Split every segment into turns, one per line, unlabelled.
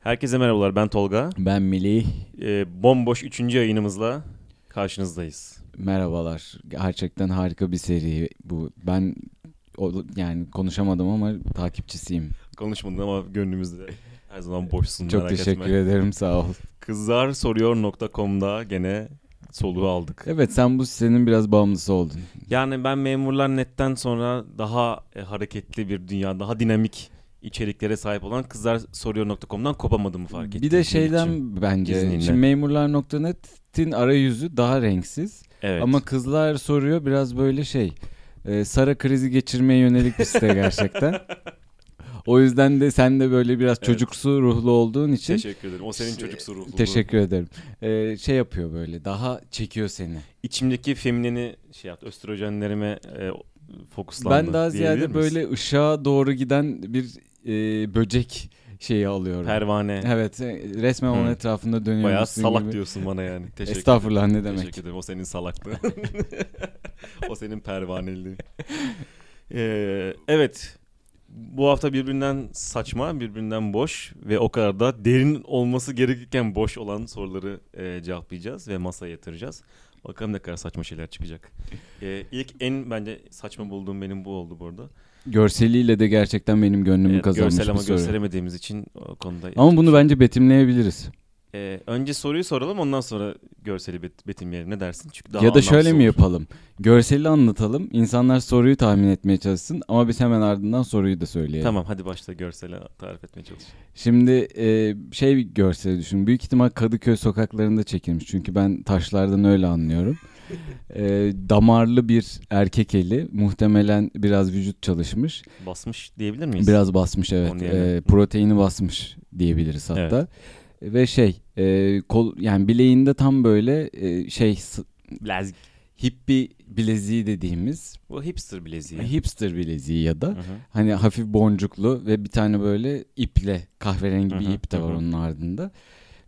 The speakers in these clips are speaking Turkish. Herkese merhabalar ben Tolga.
Ben Melih.
Ee, bomboş 3. yayınımızla karşınızdayız.
Merhabalar. Gerçekten harika bir seri bu. Ben o- yani konuşamadım ama takipçisiyim.
Konuşmadın ama gönlümüzde her zaman boşsun.
Çok
merak etme.
teşekkür ederim. Sağ ol.
Kızlarsoruyor.com'da gene soluğu aldık.
Evet sen bu senin biraz bağımlısı oldun.
Yani ben Memurlar Net'ten sonra daha e, hareketli bir dünya, daha dinamik içeriklere sahip olan kızlarsoruyor.com'dan kopamadığımı fark ettim.
bir de
Için.
şeyden bence
izninle.
şimdi memurlar.net'in arayüzü daha renksiz
Evet.
ama kızlar soruyor biraz böyle şey. e, Sara krizi geçirmeye yönelik bir site gerçekten. O yüzden de sen de böyle biraz çocuksu ruhlu olduğun için
Teşekkür ederim. O senin çocuk sorumluluğu.
Teşekkür ederim. Ee, şey yapıyor böyle daha çekiyor seni.
İçimdeki feminini şey yaptı, östrojenlerime e, fokuslandı.
ben daha
diyebilir
ziyade
miyiz?
böyle ışığa doğru giden bir e, böcek şeyi alıyorum.
pervane.
Evet e, resmen onun
Hı.
etrafında dönüyor.
Bayağı
musun
salak
gibi.
diyorsun bana yani. Teşekkür
Estağfurullah ne
ederim.
demek.
Teşekkür ederim. O senin salaklığın. o senin pervaneliğin. Ee, evet. Bu hafta birbirinden saçma, birbirinden boş ve o kadar da derin olması gerekirken boş olan soruları e, cevaplayacağız ve masaya yatıracağız. Bakalım ne kadar saçma şeyler çıkacak. Ee, ilk en bence saçma bulduğum benim bu oldu bu arada.
Görseliyle de gerçekten benim gönlümü
Evet,
kazanmış
görsel
bir
ama
soru.
gösteremediğimiz için o konuda...
Ama bunu bence betimleyebiliriz.
Ee, önce soruyu soralım ondan sonra görseli bet- betimleyelim. Ne dersin? Çünkü daha
ya da şöyle
anlamsız
mi
olur.
yapalım? Görseli anlatalım. insanlar soruyu tahmin etmeye çalışsın ama biz hemen ardından soruyu da söyleyelim.
Tamam hadi başla görseli tarif etmeye çalış.
Şimdi e, şey bir görseli düşün. Büyük ihtimal Kadıköy sokaklarında çekilmiş. Çünkü ben taşlardan öyle anlıyorum. E, damarlı bir erkek eli. Muhtemelen biraz vücut çalışmış.
Basmış diyebilir miyiz?
Biraz basmış evet.
Onun yerine.
E, proteini basmış diyebiliriz hatta. Ve şey e, kol yani bileğinde tam böyle e, şey s-
Bilezik.
hippie bileziği dediğimiz
Bu hipster bileziği.
hipster bileziği ya da
Hı hı.
Hani hafif boncuklu ve bir tane böyle iple kahverengi bir
Hı hı,
ip de var
hı hı.
onun ardında.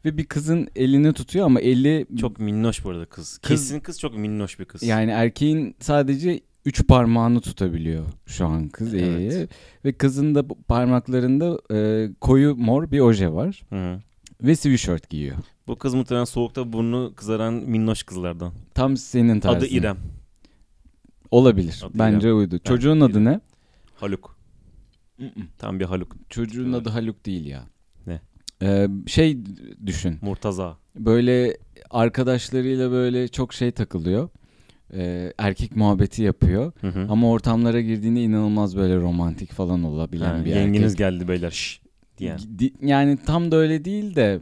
Ve bir kızın elini tutuyor ama eli
Çok minnoş bu arada kız.
Kız-
Kesin kız çok minnoş bir kız.
yani erkeğin sadece üç parmağını tutabiliyor şu an kız
Evet.
E'ye. Ve kızın da bu parmaklarında e, koyu mor bir oje var
Hı hı.
ve sweatshirt giyiyor.
Bu kız muhtemelen soğukta burnu kızaran minnoş kızlardan.
Tam senin tarzın.
Adı İrem.
Olabilir.
Adı
Bence uydu. Çocuğun
İrem.
adı ne?
Haluk. Tam bir Haluk.
Çocuğun
Evet.
adı Haluk değil ya.
Ne?
E, şey düşün.
Murtaza.
böyle arkadaşlarıyla böyle çok şey takılıyor. Ee, erkek muhabbeti yapıyor.
Hı hı.
Ama ortamlara girdiğinde inanılmaz böyle romantik falan olabilen
Ha,
bir
yengeniz
erkek.
geldi beyler şş diyen.
Di- Yani tam da öyle değil de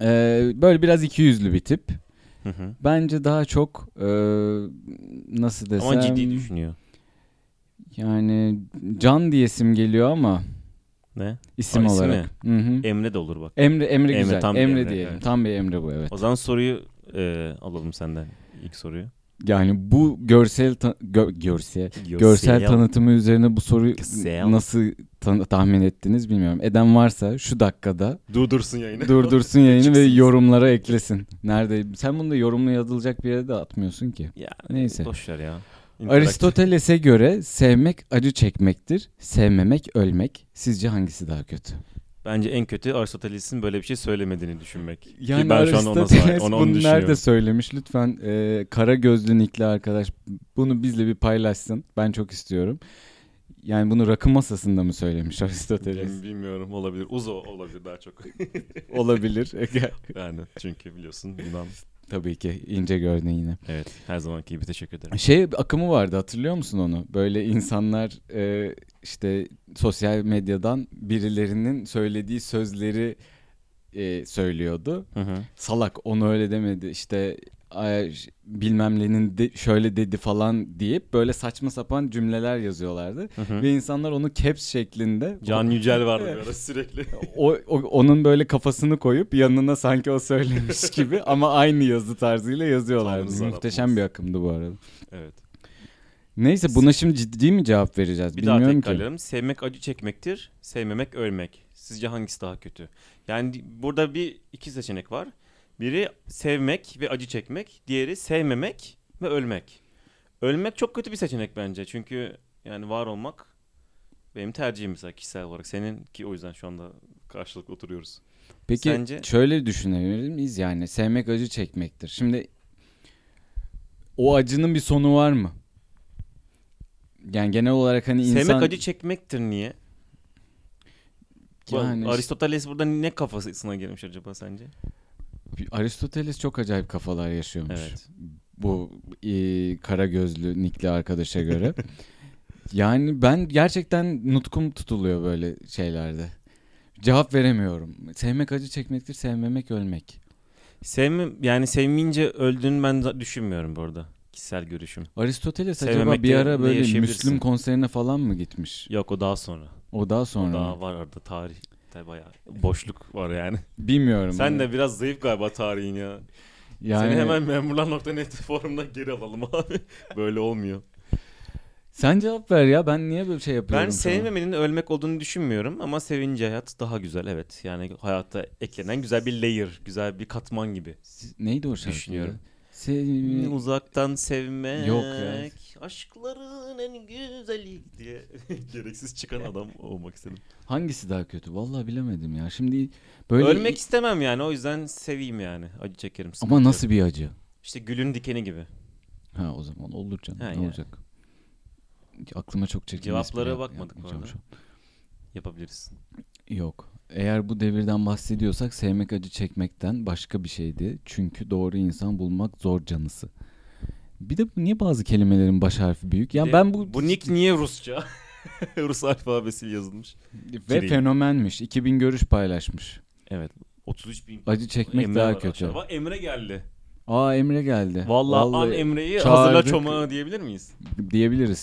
e, böyle biraz iki yüzlü bir tip.
Hı hı.
Bence daha çok e, nasıl desem
Ama ciddi düşünüyor.
yani can diyesim geliyor ama
Ne?
isim
Aa, ismi
olarak. Hı hı.
Emre de olur bak.
Emre Emre
Emre,
güzel.
tam bir
Emre,
Emre,
diyelim.
evet.
Tam bir Emre bu evet.
O zaman soruyu e, alalım senden. ilk soruyu.
Yani bu görsel ta- gö- görsel
Görsel,
Görsel tanıtımı üzerine bu soruyu
Görsel.
nasıl tan- tahmin ettiniz bilmiyorum. Eden varsa şu dakikada
Durdursun yayını.
durdursun yayını ve
Çıksın.
yorumlara eklesin. Nerede? Sen bunu da yorumlu yazılacak bir yere de atmıyorsun ki.
Ya,
Neyse.
Boşver ya.
Aristoteles'e göre sevmek acı çekmektir, sevmemek ölmek. Sizce hangisi daha kötü?
Bence en kötü Aristoteles'in böyle bir şey söylemediğini düşünmek. Ki
Yani
ben şu an ona sahip,
Aristoteles
onu,
bunu
onu düşünüyorum.
nerede söylemiş? Lütfen e, kara gözlü nikli arkadaş bunu bizle bir paylaşsın. Ben çok istiyorum. Yani bunu rakı masasında mı söylemiş Aristoteles?
Bil- Bilmiyorum olabilir. Uzo olabilir daha çok.
Olabilir.
yani çünkü biliyorsun Yunan.
Tabii ki ince gördün yine.
Evet her zamanki gibi teşekkür ederim.
Şey akımı vardı hatırlıyor musun onu? Böyle insanlar e, işte sosyal medyadan birilerinin söylediği sözleri e, söylüyordu.
Hı hı.
Salak onu öyle demedi işte ay, ş- bilmem nenin de- şöyle dedi falan deyip böyle saçma sapan cümleler yazıyorlardı.
Hı hı.
Ve insanlar onu caps şeklinde
Can Yücel vardı bir ara sürekli.
o, o- onun böyle kafasını koyup yanına sanki o söylemiş gibi ama aynı yazı tarzıyla yazıyorlardı.
Tanrı
Muhteşem
yaratmaz.
bir akımdı bu arada.
evet.
Neyse buna şimdi ciddi mi cevap vereceğiz?
Bir daha
Bilmiyorum ki.
tekrarlayalım. Sevmek acı çekmektir, sevmemek ölmek. Sizce hangisi daha kötü? Yani di- burada bir iki seçenek var. Biri sevmek ve acı çekmek, diğeri sevmemek ve ölmek. Ölmek çok kötü bir seçenek bence. Çünkü yani var olmak benim tercihim mesela kişisel olarak. Senin ki o yüzden şu anda karşılıklı oturuyoruz.
Peki
Sence-
şöyle düşünebilir miyiz yani sevmek acı çekmektir. Şimdi o acının bir sonu var mı? Yani genel olarak hani insan...
Sevmek acı çekmektir niye? Bu-
Yani işte-
Aristoteles burada ne kafasına girmiş acaba sence?
Aristoteles çok acayip kafalar yaşıyormuş.
Evet.
Bu e, kara gözlü nikli arkadaşa göre. yani ben gerçekten nutkum tutuluyor böyle şeylerde. Cevap veremiyorum. Sevmek acı çekmektir, sevmemek ölmek.
Sevme, yani sevmeyince öldüğünü ben za- düşünmüyorum burada. Kişisel görüşüm.
Aristoteles acaba
Sevmekte
bir
ne
ara böyle
yaşayabilirsin?
Müslüm konserine falan mı gitmiş?
Yok o daha sonra.
O daha sonra.
Daha
mı?
var arada tarihte bayağı boşluk var yani.
Bilmiyorum.
Sen de biraz zayıf galiba tarihin ya.
yani
Seni hemen memurlar.net forumuna geri alalım abi. Böyle olmuyor.
sen cevap ver ya. Ben niye böyle şey
Ben
yapıyorum? sana?
sevmemenin ölmek olduğunu düşünmüyorum ama sevince hayat daha güzel evet. Yani hayata eklenen güzel bir layer, güzel bir katman gibi.
S- Neydi o şarkı?
Düşünüyorum.
Sevmek-
Uzaktan sevmek.
Hmm. Yok ya.
Aşkların en güzeli diye gereksiz çıkan adam olmak istedim.
Hangisi daha kötü? Vallahi bilemedim ya. Şimdi böyle
Ölmek istemem yani o yüzden seveyim yani. Acı çekerim. sıkıntı
ama
yok.
nasıl bir acı?
İşte gülün dikeni gibi.
Ha o zaman olur canım.
Ha,
ne
yani.
olacak? Aklıma çok çirkin bir
Cevaplara
espri yap-
bakmadık bu
yapmayacağım
arada.
şu an.
Yapabiliriz.
Yok. Eğer bu devirden bahsediyorsak sevmek acı çekmekten başka bir şeydi. Çünkü doğru insan bulmak zor canısı. Bir de niye bazı kelimelerin baş harfi büyük? Ya
De-
ben bu
E, Bu nick niye Rusça? Rus alfabesiyle yazılmış.
ve fenomenmiş. 2000 görüş paylaşmış.
Evet. 33 bin.
Acı çekmek daha kötü.
Bak Emre geldi.
Aa Emre geldi.
Vallahi, an Emre'yi
çağırdık.
hazırla çomağı diyebilir miyiz?
diyebiliriz.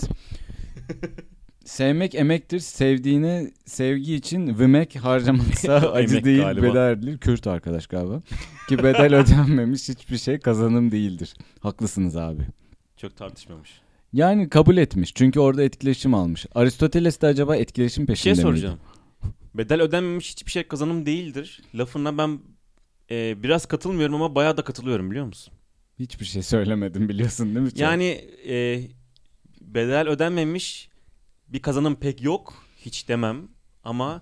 Sevmek emektir. Sevdiğine sevgi için vımek harcamaksa acı
Emek
değil
galiba.
bedeldir. Kürt arkadaş galiba. Ki bedel ödenmemiş hiçbir şey kazanım değildir. Haklısınız abi.
Çok tartışmamış.
Yani kabul etmiş. Çünkü orada etkileşim almış. Aristoteles de acaba etkileşim
Bir şey
peşinde
soracağım. Bedel ödenmemiş hiçbir şey kazanım değildir. Lafına ben e, biraz katılmıyorum ama bayağı da katılıyorum biliyor musun?
miydi? Hiçbir şey söylemedim biliyorsun değil mi? Çok-
Yani e, bedel ödenmemiş bir kazanım pek yok. Hiç demem ama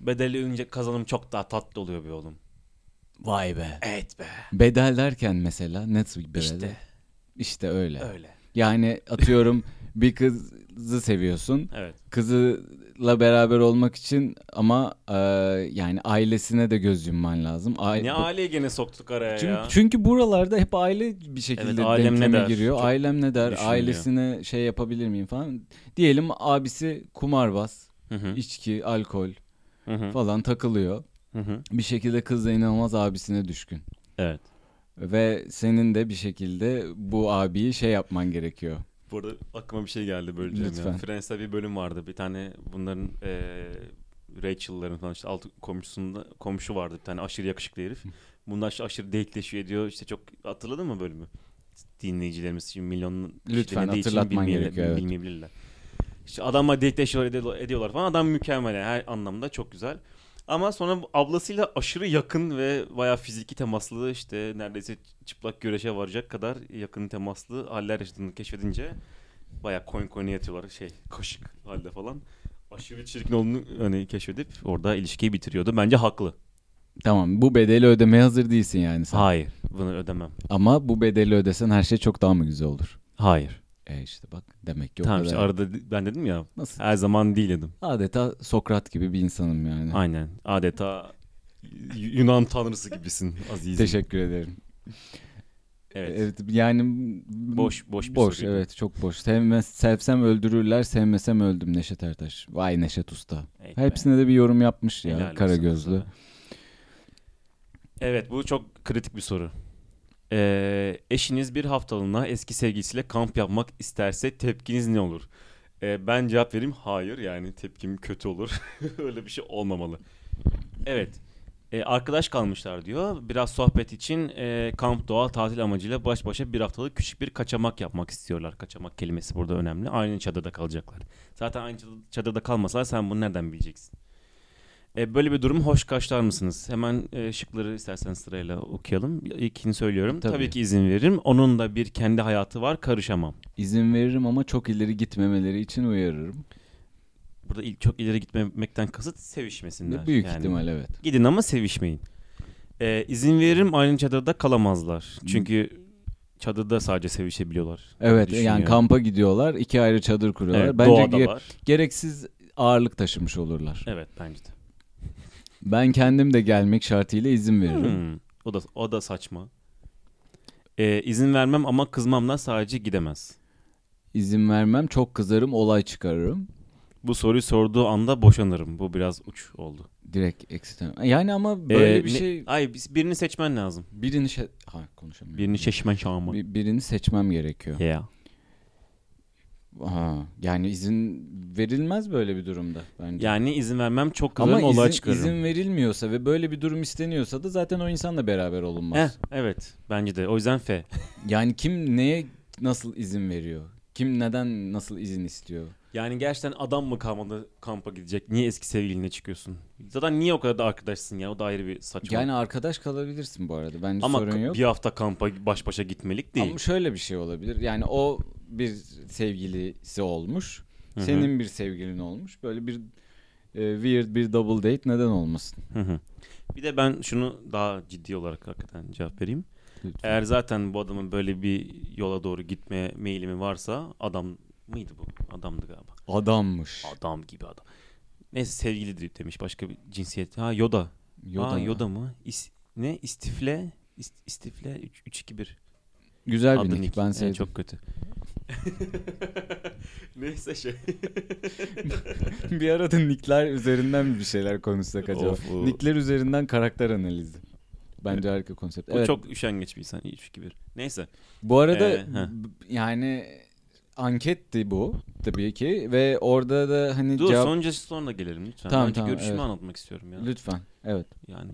bedeli önce kazanım çok daha tatlı oluyor be oğlum.
Vay be.
Evet be.
Bedel derken mesela nasıl bir bedel?
İşte
İşte öyle.
öyle.
Yani atıyorum bir kızı seviyorsun.
Evet.
kızıyla beraber olmak için ama e, yani ailesine de göz yumman lazım. Aile-
Ne aileyi gene soktuk araya
çünkü,
ya.
çünkü buralarda hep aile bir şekilde
Evet, ailem ne
denkleme
der?
giriyor.
Çok
ailem ne der?
düşünülüyor.
Ailesine şey yapabilir miyim falan. Diyelim abisi kumarbaz,
Hı hı.
içki, alkol
Hı hı.
falan takılıyor.
Hı hı.
Bir şekilde kız da inanılmaz abisine düşkün.
Evet.
Ve senin de bir şekilde bu abiyi şey yapman gerekiyor.
Bu arada aklıma bir şey geldi böleceğim
Lütfen.
ya. Friends'te bir bölüm vardı. Bir tane bunların eee Rachel'ların falan işte alt komşusunda komşu vardı bir tane aşırı yakışıklı herif. Bunlar işte aşırı denkleşiyor ediyor. İşte çok hatırladın mı bölümü? Dinleyicilerimiz şimdi milyon kişi
Lütfen
dinlediği için
hatırlatman
bilmeyen-
gerekiyor, evet.
Bilmeyebilirler. İşte adamla denkleşiyor ediyor- ediyorlar falan. Adam mükemmel yani her anlamda çok güzel. Ama sonra bu ablasıyla aşırı yakın ve bayağı fiziki temaslı işte neredeyse çıplak güreşe varacak kadar yakın temaslı haller yaşadığını keşfedince bayağı koyun koyuna yatıyorlar şey kaşık halde falan. Aşırı çirkin olduğunu hani keşfedip orada ilişkiyi bitiriyordu. Bence haklı.
Tamam bu bedeli ödemeye hazır değilsin yani sen.
Hayır. Bunu ödemem.
Ama bu bedeli ödesen her şey çok daha mı güzel olur?
Hayır.
E işte bak demek ki o
tamam
kadar.
işte arada ben dedim ya
Nasıl?
her zaman değil dedim.
Adeta Sokrat gibi bir insanım yani.
Aynen. Adeta Yunan tanrısı gibisin azizim.
Teşekkür ederim.
Evet.
Evet, yani
Boş- boş bir
boş
soruydu.
evet çok boş. Sevme, sevsem öldürürler, sevmesem öldüm Neşet Ertaş. Vay Neşet Usta.
Evet.
Hepsine de bir yorum yapmış ya
Helal olsun
kara gözlü.
sana. Evet bu çok kritik bir soru. Ee, eşiniz bir haftalığına eski sevgilisiyle kamp yapmak isterse tepkiniz ne olur? Ee, ben cevap vereyim hayır yani tepkim kötü olur. Öyle bir şey olmamalı. Evet. Ee, arkadaş kalmışlar diyor. Biraz sohbet için e, kamp doğa tatil amacıyla baş başa bir haftalık küçük bir kaçamak yapmak istiyorlar. Kaçamak kelimesi burada önemli. Aynı çadırda kalacaklar. Zaten aynı çadır- çadırda kalmasalar sen bunu nereden bileceksin? E, böyle bir durum hoş karşılar mısınız? Hemen e, şıkları isterseniz sırayla okuyalım. İlkini söylüyorum.
Tabii.
Tabii. ki izin veririm. Onun da bir kendi hayatı var. Karışamam.
İzin veririm ama çok ileri gitmemeleri için uyarırım.
Burada il- çok ileri gitmemekten kasıt sevişmesinler.
Büyük
yani.
ihtimal evet.
Gidin ama sevişmeyin. Ee, izin veririm aynı çadırda kalamazlar. Çünkü çadırda sadece sevişebiliyorlar.
Evet yani
düşünüyorum.
kampa gidiyorlar. iki ayrı çadır kuruyorlar.
Evet,
Bence
doğada
ge-
var.
gereksiz ağırlık taşımış olurlar.
Evet bence de.
Ben kendim de gelmek şartıyla izin veririm.
Hmm, O da o da saçma. Ee, izin vermem ama kızmamla sadece gidemez.
İzin vermem. Çok kızarım. Olay çıkarırım.
Bu soruyu sorduğu anda boşanırım. Bu biraz uç oldu.
Direkt ekstrem. Yani ama böyle
Ee,
bir
ne-
şey
Ay biz- birini seçmen lazım.
birini şey ha konuşamıyorum.
Birini şey şeşmen şahımı.
Bir- birini seçmem gerekiyor.
Ya.
Ha, yani izin verilmez böyle bir durumda bence.
Yani izin vermem çok
Ama
kızarım olay
izin,
çıkarırım.
izin verilmiyorsa ve böyle bir durum isteniyorsa da zaten o insanla beraber
Heh,
olunmaz.
evet bence de. O yüzden F.
Yani kim neye nasıl izin veriyor? Kim neden nasıl izin istiyor?
Yani gerçekten adam mı kalmadı kampa gidecek? Niye eski sevgiline çıkıyorsun? Zaten niye o kadar da arkadaşsın yani? O da ayrı bir saçma.
Yani arkadaş kalabilirsin bu arada. Bence
Ama
sorun yok.
bir hafta kampa baş başa gitmelik değil.
Ama şöyle bir şey olabilir. Yani o bir sevgilisi olmuş.
Hı hı.
Senin bir sevgilin olmuş. Böyle bir e, weird bir double date neden olmasın?
Hı hı. Bir de ben şunu daha ciddi olarak hakikaten cevap vereyim.
Lütfen.
Eğer zaten bu adamın böyle bir yola doğru gitme meyilimi varsa adam mıydı bu? Adamdı galiba.
Adammış.
Adam gibi adam. Neyse sevgili de- demiş başka bir cinsiyet. Ha Yoda. Yoda,
Yoda.
Aa, Yoda mı? İs- ne? İstifle. İst- istifle 3-2-1.
Güzel bir
Adı
nick.
nick.
Ben
Ee,
sevdim.
Çok kötü. Neyse şey.
bir arada nickler üzerinden bir şeyler konuşsak acaba.
Of, o-
Nickler üzerinden karakter analizi. Bence harika konsept.
O
Evet.
çok üşengeç bir insan. 3-2-1. Neyse.
Bu arada
Ee, heh.
b- yani anketti bu tabii ki ve orada da hani
Dur
cevap
sonca sonra gelelim lütfen.
Tamam,
Önce
tamam,
görüşümü
evet.
anlatmak istiyorum ya.
lütfen. Evet.
Yani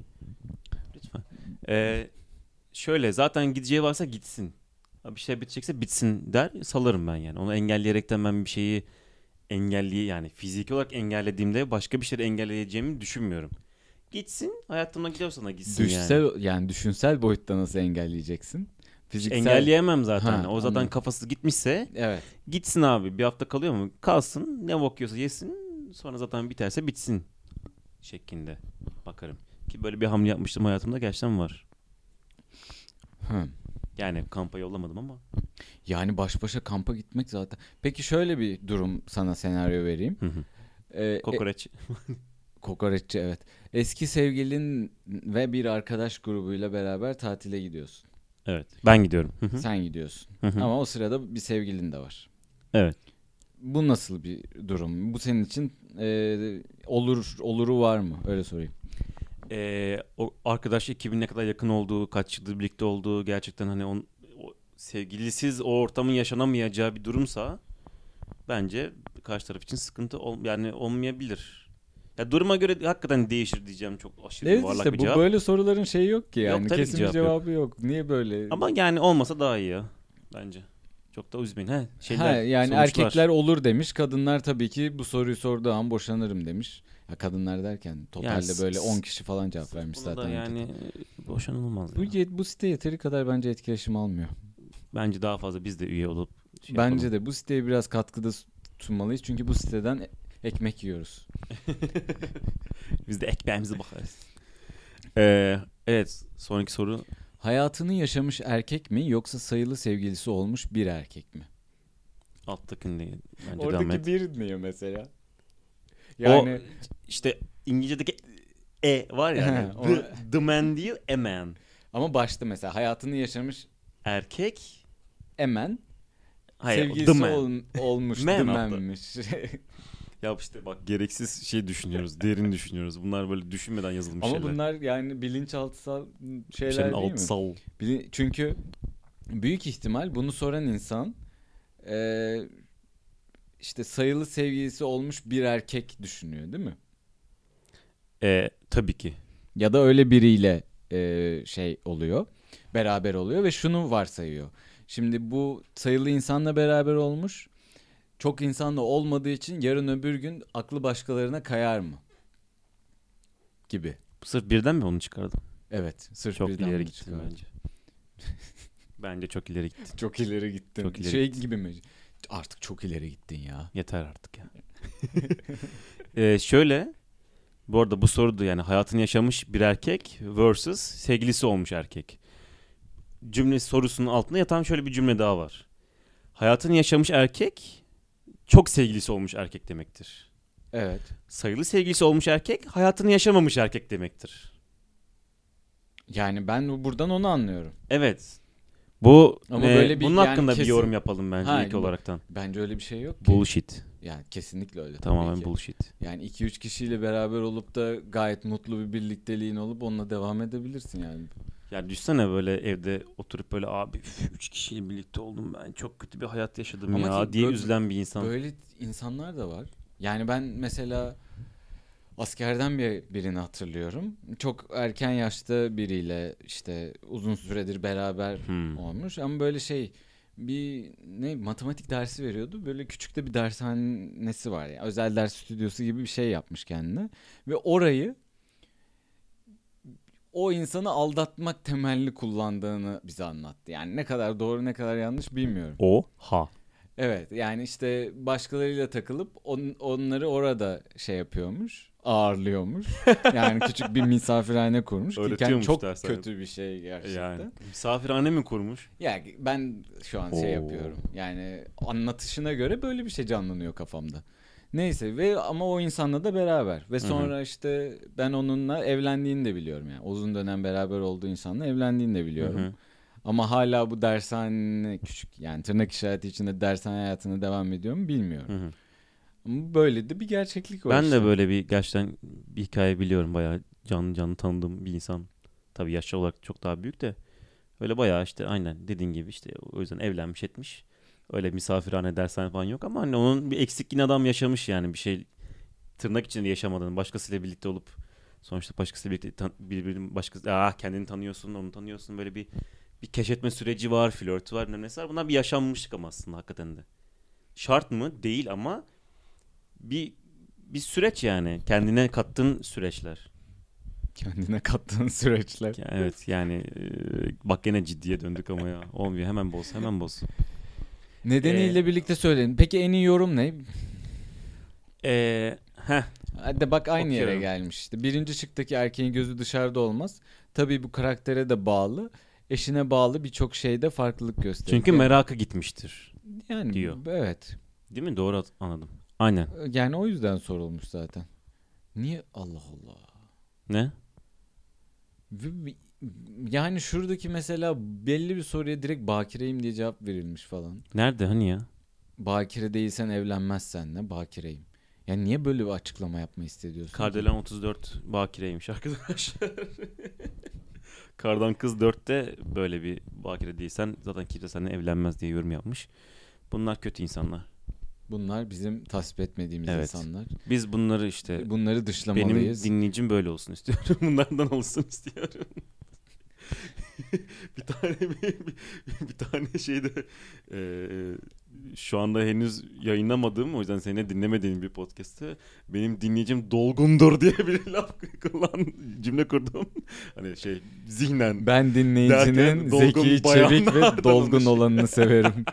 lütfen. Ee, şöyle zaten gideceği varsa gitsin. Ha, Bir şey bitecekse bitsin der salarım ben yani. Onu engelleyerekten ben bir şeyi engelli yani fiziki olarak engellediğimde başka bir şeyi engelleyeceğimi düşünmüyorum. Gitsin hayatımdan gidiyorsa da gitsin
Düşsel
yani.
yani. düşünsel boyutta nasıl engelleyeceksin? Fiziksel.
Engelleyemem zaten.
Ha,
o zaten
anladım.
kafası gitmişse
Evet.
gitsin abi. Bir hafta kalıyor mu? Kalsın. Ne bok yiyorsa yesin. Sonra zaten biterse bitsin şeklinde bakarım. Ki böyle bir hamle yapmıştım hayatımda gerçekten var.
Hı.
Yani kampa yollamadım ama.
Yani baş başa kampa gitmek zaten. Peki şöyle bir durum sana senaryo vereyim. Ee, e-
Kokoreç.
kokoreççi evet. Eski sevgilin ve bir arkadaş grubuyla beraber tatile gidiyorsun.
Evet. Ben gidiyorum.
Sen gidiyorsun.
Hı hı.
Ama o sırada bir sevgilin de var.
evet.
Bu nasıl bir durum? Bu senin için e, olur oluru var mı? Öyle sorayım.
Ee, o arkadaş ekibin ne kadar yakın olduğu, kaç yıldır birlikte olduğu gerçekten hani on, o, sevgilisiz o ortamın yaşanamayacağı bir durumsa bence karşı taraf için sıkıntı ol, yani olmayabilir. Ya duruma göre hakikaten değişir diyeceğim çok aşırı
Evet
yuvarlak
işte
bir
bu
cevap.
böyle soruların şeyi yok ki yani.
tabii ki
Kesin
cevap
bir cevabı yok. Niye böyle?
Ama yani olmasa daha iyi ya bence. Çok da üzmeyin. He, şeyler,
ha, yani
sonuçlar.
erkekler olur demiş. Kadınlar tabii ki bu soruyu sorduğu an boşanırım demiş. Ya kadınlar derken totalde
s-
böyle
s-
10 kişi falan cevap vermiş
Buna
zaten.
da
ankete.
yani boşanılmaz.
Bu,
ya.
yet- bu site yeteri kadar bence etkileşim almıyor.
Bence daha fazla biz de üye olup şey
bence
yapalım.
de bu siteye biraz katkıda s- sunmalıyız. Çünkü bu siteden e- ekmek yiyoruz.
Biz de ekmeğimize bakarız. Ee, evet sonraki soru.
Hayatını yaşamış erkek mi yoksa sayılı sevgilisi olmuş bir erkek mi?
Alttakinde bence devam et.
bir niye mesela?
Yani- İşte İngilizce'deki e var ya. hani,
O-
the, the man değil a man.
ama başta mesela hayatını yaşamış
Erkek.
Emen
Hayır
sevgilisi
the man.
ol- olmuş
Man
The
adlı.
Man'miş.
Ya işte bak gereksiz şey düşünüyoruz. derin düşünüyoruz. Bunlar böyle düşünmeden yazılmış
ama
şeyler.
bunlar yani bilinçaltısal şeyler
Senin
değil mi?
altsal.
Bili- çünkü büyük ihtimal bunu soran insan e, işte sayılı sevgilisi olmuş bir erkek düşünüyor değil mi?
Ee, tabii ki.
Ya da öyle biriyle e, şey oluyor, beraber oluyor ve şunu varsayıyor. Şimdi bu sayılı insanla beraber olmuş, çok insanla olmadığı için yarın öbür gün aklı başkalarına kayar mı? Gibi.
Sırf birden mi onu çıkardın?
Evet, sırf
Çok
birden bunu
ileri gittin
çıkardım.
bence. bence çok ileri gittin.
Çok ileri gittin.
Çok ileri
şey gibi mi? Artık çok ileri gittin ya.
Yeter artık ya. Ee, şöyle bu arada bu sorudu yani hayatını yaşamış bir erkek versus sevgilisi olmuş erkek. Cümle sorusunun altında yatan şöyle bir cümle daha var. Hayatını yaşamış erkek çok sevgilisi olmuş erkek demektir.
Evet.
Sayılı sevgilisi olmuş erkek hayatını yaşamamış erkek demektir.
Yani ben buradan onu anlıyorum.
Evet. Bu
Ama
e,
böyle bir-
bunun
yani
hakkında bir
kesin-
yorum yapalım bence
Ha,
ilk
bu-
olaraktan.
Bence öyle bir şey yok ki.
Bullshit.
yani kesinlikle öyle. tabii
Tamamen
ki.
bullshit.
Yani 2-3 kişiyle beraber olup da gayet mutlu bir birlikteliğin olup onunla devam edebilirsin yani.
Ya düşsene böyle evde oturup böyle abi üf, üç kişiyle birlikte oldum ben çok kötü bir hayat yaşadım
Ama
ya
ki
diye
bö-
üzülen bir insan.
Böyle insanlar da var. Yani ben mesela askerden bir, birini hatırlıyorum. Çok erken yaşta biriyle işte uzun süredir beraber
Hmm.
olmuş ama böyle şey bir ne matematik dersi veriyordu. Böyle küçük de bir dershanesi var. Yani. Özel ders stüdyosu gibi bir şey yapmış kendine. Ve orayı o insanı aldatmak temelli kullandığını bize anlattı. Yani ne kadar doğru ne kadar yanlış bilmiyorum.
O ha.
Evet yani işte başkalarıyla takılıp on, onları orada şey yapıyormuş ağırlıyormuş. Yani küçük bir misafirhane kurmuş ki kendi
Öğretiyormuş
çok
dershane.
kötü bir şey gerçekten.
Yani misafirhane mi kurmuş?
Yani ben şu an şey
Oo.
yapıyorum. Yani anlatışına göre böyle bir şey canlanıyor kafamda. Neyse ve ama o insanla da beraber ve
hı.
sonra işte ben onunla evlendiğini de biliyorum yani. Uzun dönem beraber olduğu insanla evlendiğini de biliyorum.
Hı hı.
Ama hala bu dershane küçük yani tırnak işareti içinde dershane hayatına devam ediyor mu bilmiyorum.
Hı hı.
Ama böyle de bir gerçeklik var
Ben
işte.
de böyle bir gerçekten bir hikaye biliyorum bayağı canlı canlı tanıdığım bir insan. Tabii yaşlı olarak çok daha büyük de öyle bayağı işte aynen dediğin gibi işte o yüzden evlenmiş etmiş. Öyle misafirhane dershane falan yok ama hani onun bir eksik yine adam yaşamış yani bir şey tırnak içinde yaşamadığını başkasıyla birlikte olup sonuçta başkasıyla birlikte tan- birbirini başkası ah kendini tanıyorsun onu tanıyorsun böyle bir bir keşfetme süreci var flört var bilmem nesi var bunlar bir yaşanmışlık ama aslında hakikaten de şart mı değil ama bir bir süreç yani. Kendine kattığın süreçler.
Kendine kattığın süreçler.
Ya Evet yani e, bak gene ciddiye döndük ama ya. Olmuyor hemen boz hemen boz.
Nedeniyle birlikte söyleyin. Peki en iyi yorum ne?
Ee, heh,
Hadi bak aynı yere
Bakıyorum.
gelmiş işte. Birinci şıktaki erkeğin gözü dışarıda olmaz. Tabii bu karaktere de bağlı. Eşine bağlı birçok şeyde farklılık gösterir.
çünkü merakı gitmiştir.
yani,
diyor.
Evet.
Değil mi? Doğru at- anladım. Aynen.
Yani o yüzden sorulmuş zaten. Niye Allah Allah.
Ne?
Ve bi- Yani şuradaki mesela belli bir soruya direkt bakireyim diye cevap verilmiş falan.
Nerede hani ya?
Bakire değilsen evlenmezsen ne bakireyim. Yani niye böyle bir açıklama yapma istediyorsun? ki?
Kardelen 34 bakireymiş arkadaşlar. Kardan kız 4'te böyle bir bakire değilsen zaten kimse seninle evlenmez diye yorum yapmış. Bunlar kötü insanlar.
Bunlar bizim tasvip etmediğimiz
Evet.
insanlar.
Biz bunları işte
Bunları
Benim
dışlamalıyız.
dinleyicim böyle olsun istiyorum. Bunlardan olsun istiyorum. bir tane bir, bir- bir tane şeyde eee şu anda henüz yayınlamadığım o yüzden seni dinlemediğim bir podcast'te benim dinleyicim dolgundur diye bir laf kullan cümle kurdum. Hani şey zihnen.
Ben dinleyicinin
Derken dolgun
zeki, çevik ve
bayanlardan
dolgun
olmuş.
olanını severim.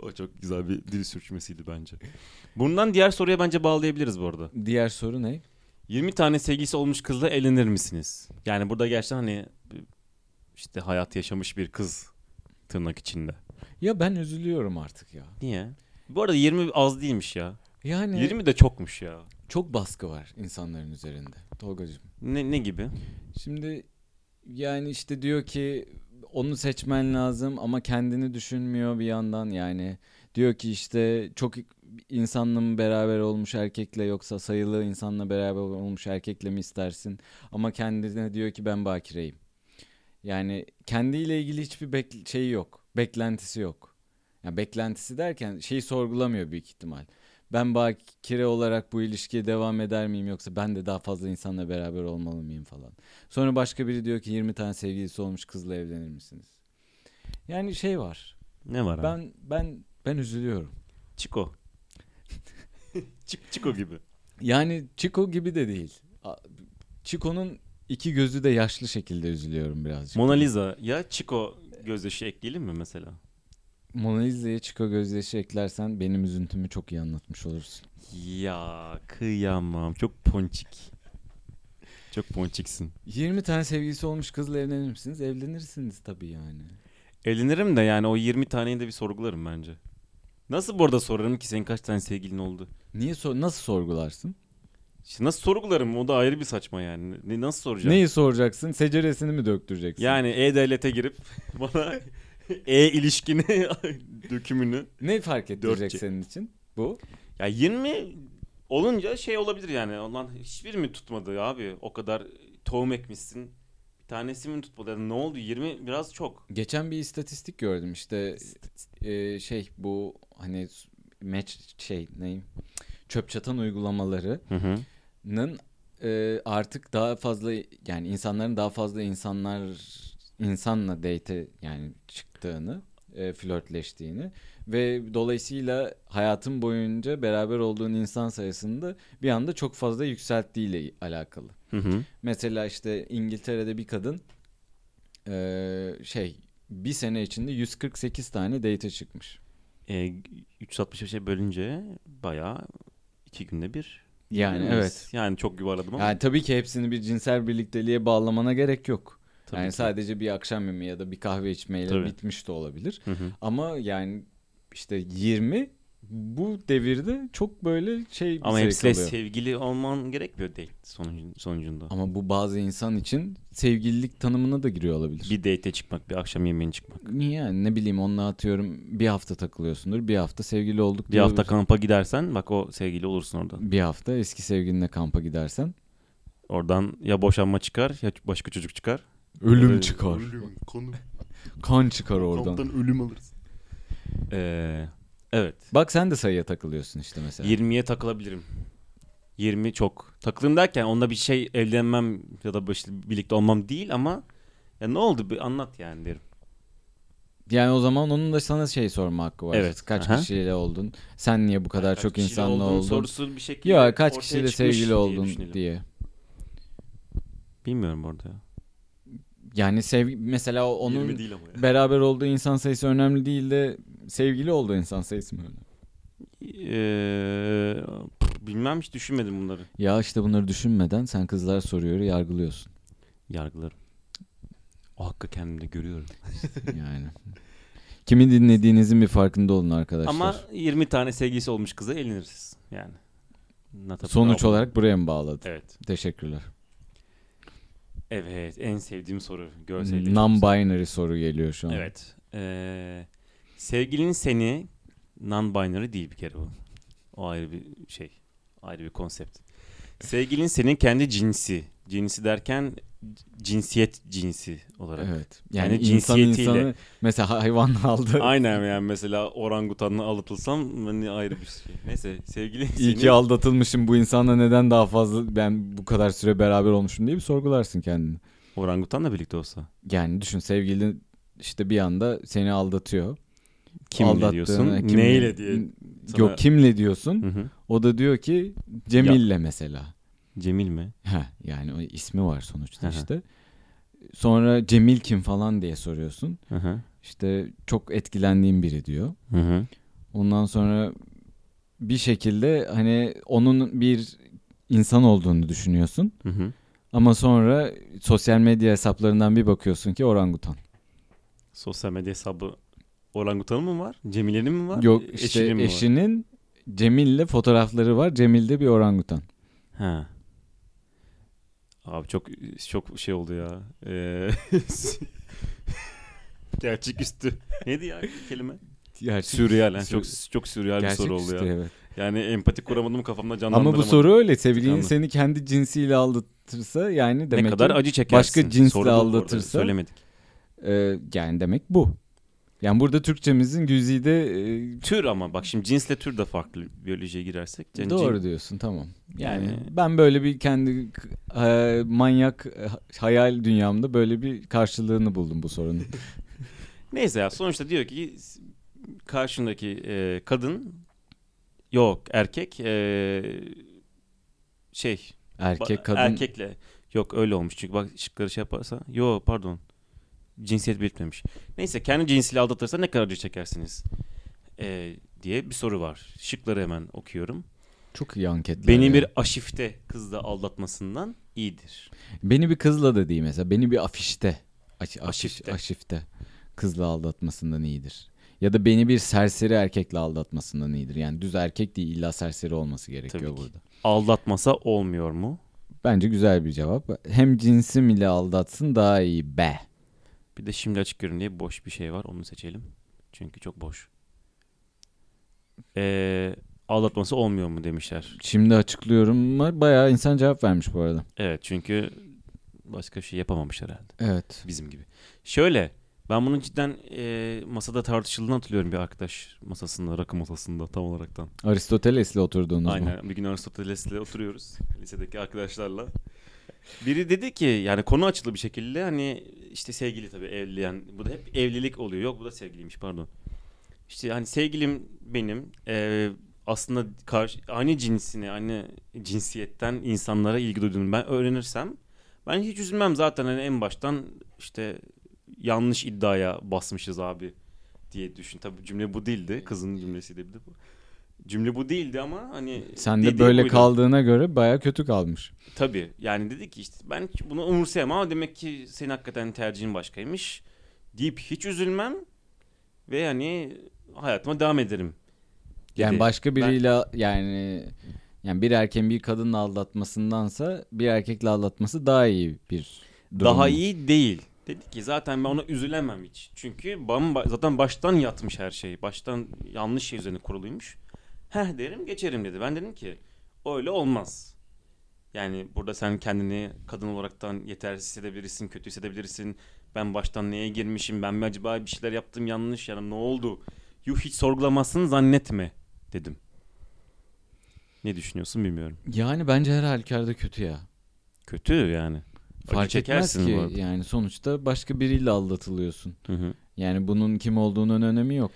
O çok güzel bir dil sürçmesiydi bence. Bundan diğer soruya bence bağlayabiliriz bu arada.
Diğer soru ne?
20 tane sevgilisi olmuş kızla evlenir misiniz? Yani burada gerçekten hani işte hayat yaşamış bir kız tırnak içinde.
Ya ben üzülüyorum artık ya.
Niye? Bu arada 20 az değilmiş ya.
Yani
20 de çokmuş ya.
çok baskı var insanların üzerinde. Tolgacığım.
Ne, ne gibi?
Şimdi yani işte diyor ki onu seçmen lazım ama kendini düşünmüyor bir yandan yani. Diyor ki işte çok insanla mı beraber olmuş erkekle yoksa sayılı insanla beraber olmuş erkekle mi istersin? Ama kendine diyor ki ben bakireyim. Yani kendiyle ilgili hiçbir bek- şeyi yok. Beklentisi yok. Yani beklentisi derken şeyi sorgulamıyor büyük ihtimal. Ben bakire olarak bu ilişkiye devam eder miyim yoksa ben de daha fazla insanla beraber olmalı mıyım falan. Sonra başka biri diyor ki 20 tane sevgilisi olmuş kızla evlenir misiniz? Yani şey var.
Ne var ben...
Ben ben ben üzülüyorum.
Çiko. Çik- Çiko gibi.
Yani Chico gibi de değil. A- Chico'nun iki gözü de yaşlı şekilde üzülüyorum birazcık.
Mona Lisa ya Çiko gözyaşı ekleyelim mi mesela?
Mona Lisa'ya Chico gözyaşı eklersen benim üzüntümü çok iyi anlatmış olursun.
Ya kıyamam. Çok ponçik. Çok ponçiksin.
20 tane sevgilisi olmuş kızla evlenir misiniz? Evlenirsiniz tabii yani.
Evlenirim de yani o 20 taneyi de bir sorgularım bence. Nasıl bu arada sorarım ki senin kaç tane sevgilin oldu?
Niye sor nasıl sorgularsın?
İşte nasıl sorgularım? O da ayrı bir saçma yani. Ne, nasıl soracağım?
Neyi soracaksın? Seceresini mi döktüreceksin?
Yani E-Devlet'e girip bana E ilişkini dökümünü.
ne fark ettirecek
Dörtçe.
senin için? Bu.
Ya 20 olunca şey olabilir yani. Ondan hiçbir mi tutmadı abi? O kadar tohum ekmişsin. Bir tanesi mi tutmadı? Yani ne oldu? 20 biraz çok.
Geçen bir istatistik gördüm işte e, şey bu hani meç şey neyim çöp çatan uygulamaları
Hı hı.
Nın e, artık daha fazla yani insanların daha fazla insanlar insanla date e, yani çıktığını, e, flörtleştiğini ve dolayısıyla hayatın boyunca beraber olduğun insan sayısında bir anda çok fazla yükselttiğiyle alakalı.
Hı hı.
Mesela işte İngiltere'de bir kadın e, şey bir sene içinde 148 tane date çıkmış.
E, 365'e bölünce bayağı iki günde bir.
Yani
Biz-
evet.
Yani çok yuvarladım ama.
Yani tabii ki hepsini bir cinsel birlikteliğe bağlamana gerek yok.
tabii
yani
ki.
sadece bir akşam yemeği ya da bir kahve içmeyle
Tabii.
bitmiş de olabilir.
Hı hı.
Ama yani işte 20 bu devirde çok böyle şey bir
Ama
zevk
hepsiyle
alıyor.
sevgili olman gerekmiyor date sonucun- sonucunda.
Ama bu bazı insan için sevgililik tanımına da giriyor olabilir.
Bir date'e çıkmak, bir akşam yemeğine çıkmak.
Niye yani ne bileyim onunla atıyorum bir hafta takılıyorsundur bir hafta sevgili olduk
Bir
diyor.
hafta kampa gidersen bak o sevgili olursun oradan.
bir hafta eski sevgilinle kampa gidersen
Oradan ya boşanma çıkar ya başka çocuk çıkar.
ölüm
Evet.
çıkar
Ölüm. Konu.
kan çıkar oradan.
Kamptan ölüm alırız.
Ee, evet.
Bak sen de sayıya takılıyorsun işte mesela.
20'ye takılabilirim. 20 çok. Takılırım derken onda bir şey evlenmem ya da işte birlikte olmam değil ama ya ne oldu bir anlat yani derim.
Yani o zaman onun da sana şey sorma hakkı var.
Evet,
Kaç
aha.
kişiyle oldun? Sen niye bu kadar
Kaç
çok
kişiyle
insanla
olduğun
oldun?
Sorusu bir şekilde
Ya kaç
ortaya
kişiyle
çıkmış
sevgili
diye
oldun diye,
düşünelim. Bilmiyorum orada ya.
Yani sevgi mesela o- onun
20 değil ama ya.
beraber olduğu insan sayısı önemli değil de sevgili olduğu insan sayısı mı önemli?
Ee, pff, bilmem hiç düşünmedim bunları.
Ya işte bunları düşünmeden sen kızlar soruyor yargılıyorsun.
Yargılarım. O hakkı kendimde görüyorum.
Yani. Kimi dinlediğinizin bir farkında olun arkadaşlar.
Ama 20 tane sevgilisi olmuş kıza eliniriz. Yani. Not a
Sonuç
problem.
olarak buraya mı bağladın?
Evet.
Teşekkürler.
Evet. En sevdiğim soru. Görselleşmesi.
Non-binary soru geliyor şu an.
Evet. Ee, sevgilin seni non-binary değil bir kere bu. O ayrı bir şey. Ayrı bir konsept. Sevgilin senin kendi cinsi. Cinsi derken cinsiyet cinsi olarak.
Evet. Yani,
Yani
insan
cinsiyetiyle.
insanı mesela hayvan aldı.
Aynen yani mesela orangutanla alıtılsam hani ayrı bir şey. Neyse sevgilin
İyi
seni...
ki aldatılmışım bu insanla neden daha fazla ben bu kadar süre beraber olmuşum diye bir sorgularsın kendini.
Orangutanla birlikte olsa.
Yani düşün sevgilin işte bir anda seni aldatıyor.
Kimle
Aldattığını,
diyorsun?
e, kimle-
Neyle diye. sana-
Yok kimle diyorsun?
Hı hı.
O da diyor ki Cemil'le mesela.
Cemil mi?
Heh, yani o ismi var sonuçta
Hı hı.
işte. Sonra Cemil kim falan diye soruyorsun.
Hı hı.
İşte çok etkilendiğim biri diyor.
Hı hı.
Ondan sonra bir şekilde hani onun bir insan olduğunu düşünüyorsun.
Hı hı.
Ama sonra sosyal medya hesaplarından bir bakıyorsun ki orangutan.
Sosyal medya hesabı orangutanın mı var? Cemile'nin mi var?
Yok
E-
işte
eşinin mi var?
eşinin Cemil'le fotoğrafları var. Cemil'de bir orangutan.
Ha. Abi çok çok şey oldu ya. Ee, gerçek üstü. Neydi ya kelime?
Gerçek,
Sürreal. ha.
sü-
Çok çok sürreal bir soru oldu
üstü,
ya.
evet.
Yani empati kuramadım kafamda canlandıramadım.
Ama bu soru öyle. Sevgilin
Anladım.
seni kendi cinsiyle aldatırsa yani demek
ne kadar
ki,
acı çekersin.
başka cinsle
Sorduk orada,
aldatırsa-
Söylemedik.
e, yani demek bu. Yani burada Türkçemizin güzide e,
Tür ama bak şimdi cinsle tür de farklı biyolojiye girersek. Cin-
Doğru
cin-
diyorsun tamam. Yani,
Yani-
ben böyle bir kendi e, manyak e, hayal dünyamda böyle bir karşılığını buldum bu sorunun.
Neyse ya sonuçta diyor ki karşındaki e, kadın yok erkek e, şey
Erkek
Ba-
kadın
Erkekle. Yok öyle olmuş çünkü bak şıkları şey yaparsa. Yo pardon. cinsiyet belirtmemiş. Neyse kendi cinsiyle aldatırsa ne kadar acı çekersiniz Ee, diye bir soru var. Şıkları hemen okuyorum.
Çok iyi anketler.
Beni
ya.
bir aşifte kızla aldatmasından iyidir.
Beni bir kızla da değil mesela. Beni bir afişte. Aş,
Aşifte.
aşifte. Aşifte. Kızla aldatmasından iyidir. Ya da beni bir serseri erkekle aldatmasından iyidir. Yani düz erkek değil illa serseri olması gerekiyor
Tabii ki.
burada.
Aldatmasa olmuyor mu?
Bence güzel bir cevap. Hem cinsim ile aldatsın daha iyi be.
Bir de şimdi açık görün diye boş bir şey var. Onu seçelim. Çünkü çok boş. Ee, aldatması olmuyor mu demişler.
Şimdi açıklıyorum. Bayağı insan cevap vermiş bu arada.
Evet çünkü başka bir şey yapamamış herhalde.
Evet.
Bizim gibi. Şöyle ben bunun cidden e, masada tartışıldığını hatırlıyorum bir arkadaş masasında, rakı masasında tam olaraktan.
Aristoteles'le oturduğunuz bu.
Aynen. Bir gün Aristoteles'le oturuyoruz lisedeki arkadaşlarla. Biri dedi ki yani konu açılı bir şekilde hani işte sevgili tabii evli yani bu da hep evlilik oluyor. Yok bu da sevgiliymiş pardon. İşte hani sevgilim benim eee, aslında karşı, aynı cinsine aynı cinsiyetten insanlara ilgi duyduğunu ben öğrenirsem ben hiç üzülmem zaten hani en baştan işte yanlış iddiaya basmışız abi diye düşün. Tabii cümle bu değildi. Kızın cümlesiydi bir de bu. Cümle bu değildi ama hani
Sen de
dediği
böyle
buydu.
kaldığına göre bayağı kötü kalmış.
Tabii yani dedi ki işte ben hiç bunu umursayamam ama demek ki senin hakikaten tercihin başkaymış deyip hiç üzülmem ve yani hayatıma devam ederim.
Yani
Dedi.
başka biriyle yani yani bir erkeğin bir kadınla aldatmasındansa bir erkekle aldatması daha iyi bir durum.
Daha iyi değil. Dedi ki zaten ben ona üzülemem hiç. Çünkü bamba, zaten baştan yatmış her şey. Baştan yanlış şey üzerine kuruluymuş. Heh derim geçerim dedi. Ben dedim ki öyle olmaz. Yani burada sen kendini kadın olaraktan yetersiz hissedebilirsin, kötü hissedebilirsin. Ben baştan neye girmişim, ben mi acaba bir şeyler yaptım yanlış yani ne oldu? Yuh hiç sorgulamazsın zannetme dedim. Ne düşünüyorsun bilmiyorum.
Yani bence her halükarda kötü ya.
Kötü yani. Acı
Fark etmez
çekersin bu
ki
arada.
yani sonuçta başka biriyle aldatılıyorsun.
Hı hı.
Yani bunun kim olduğunun önemi yok.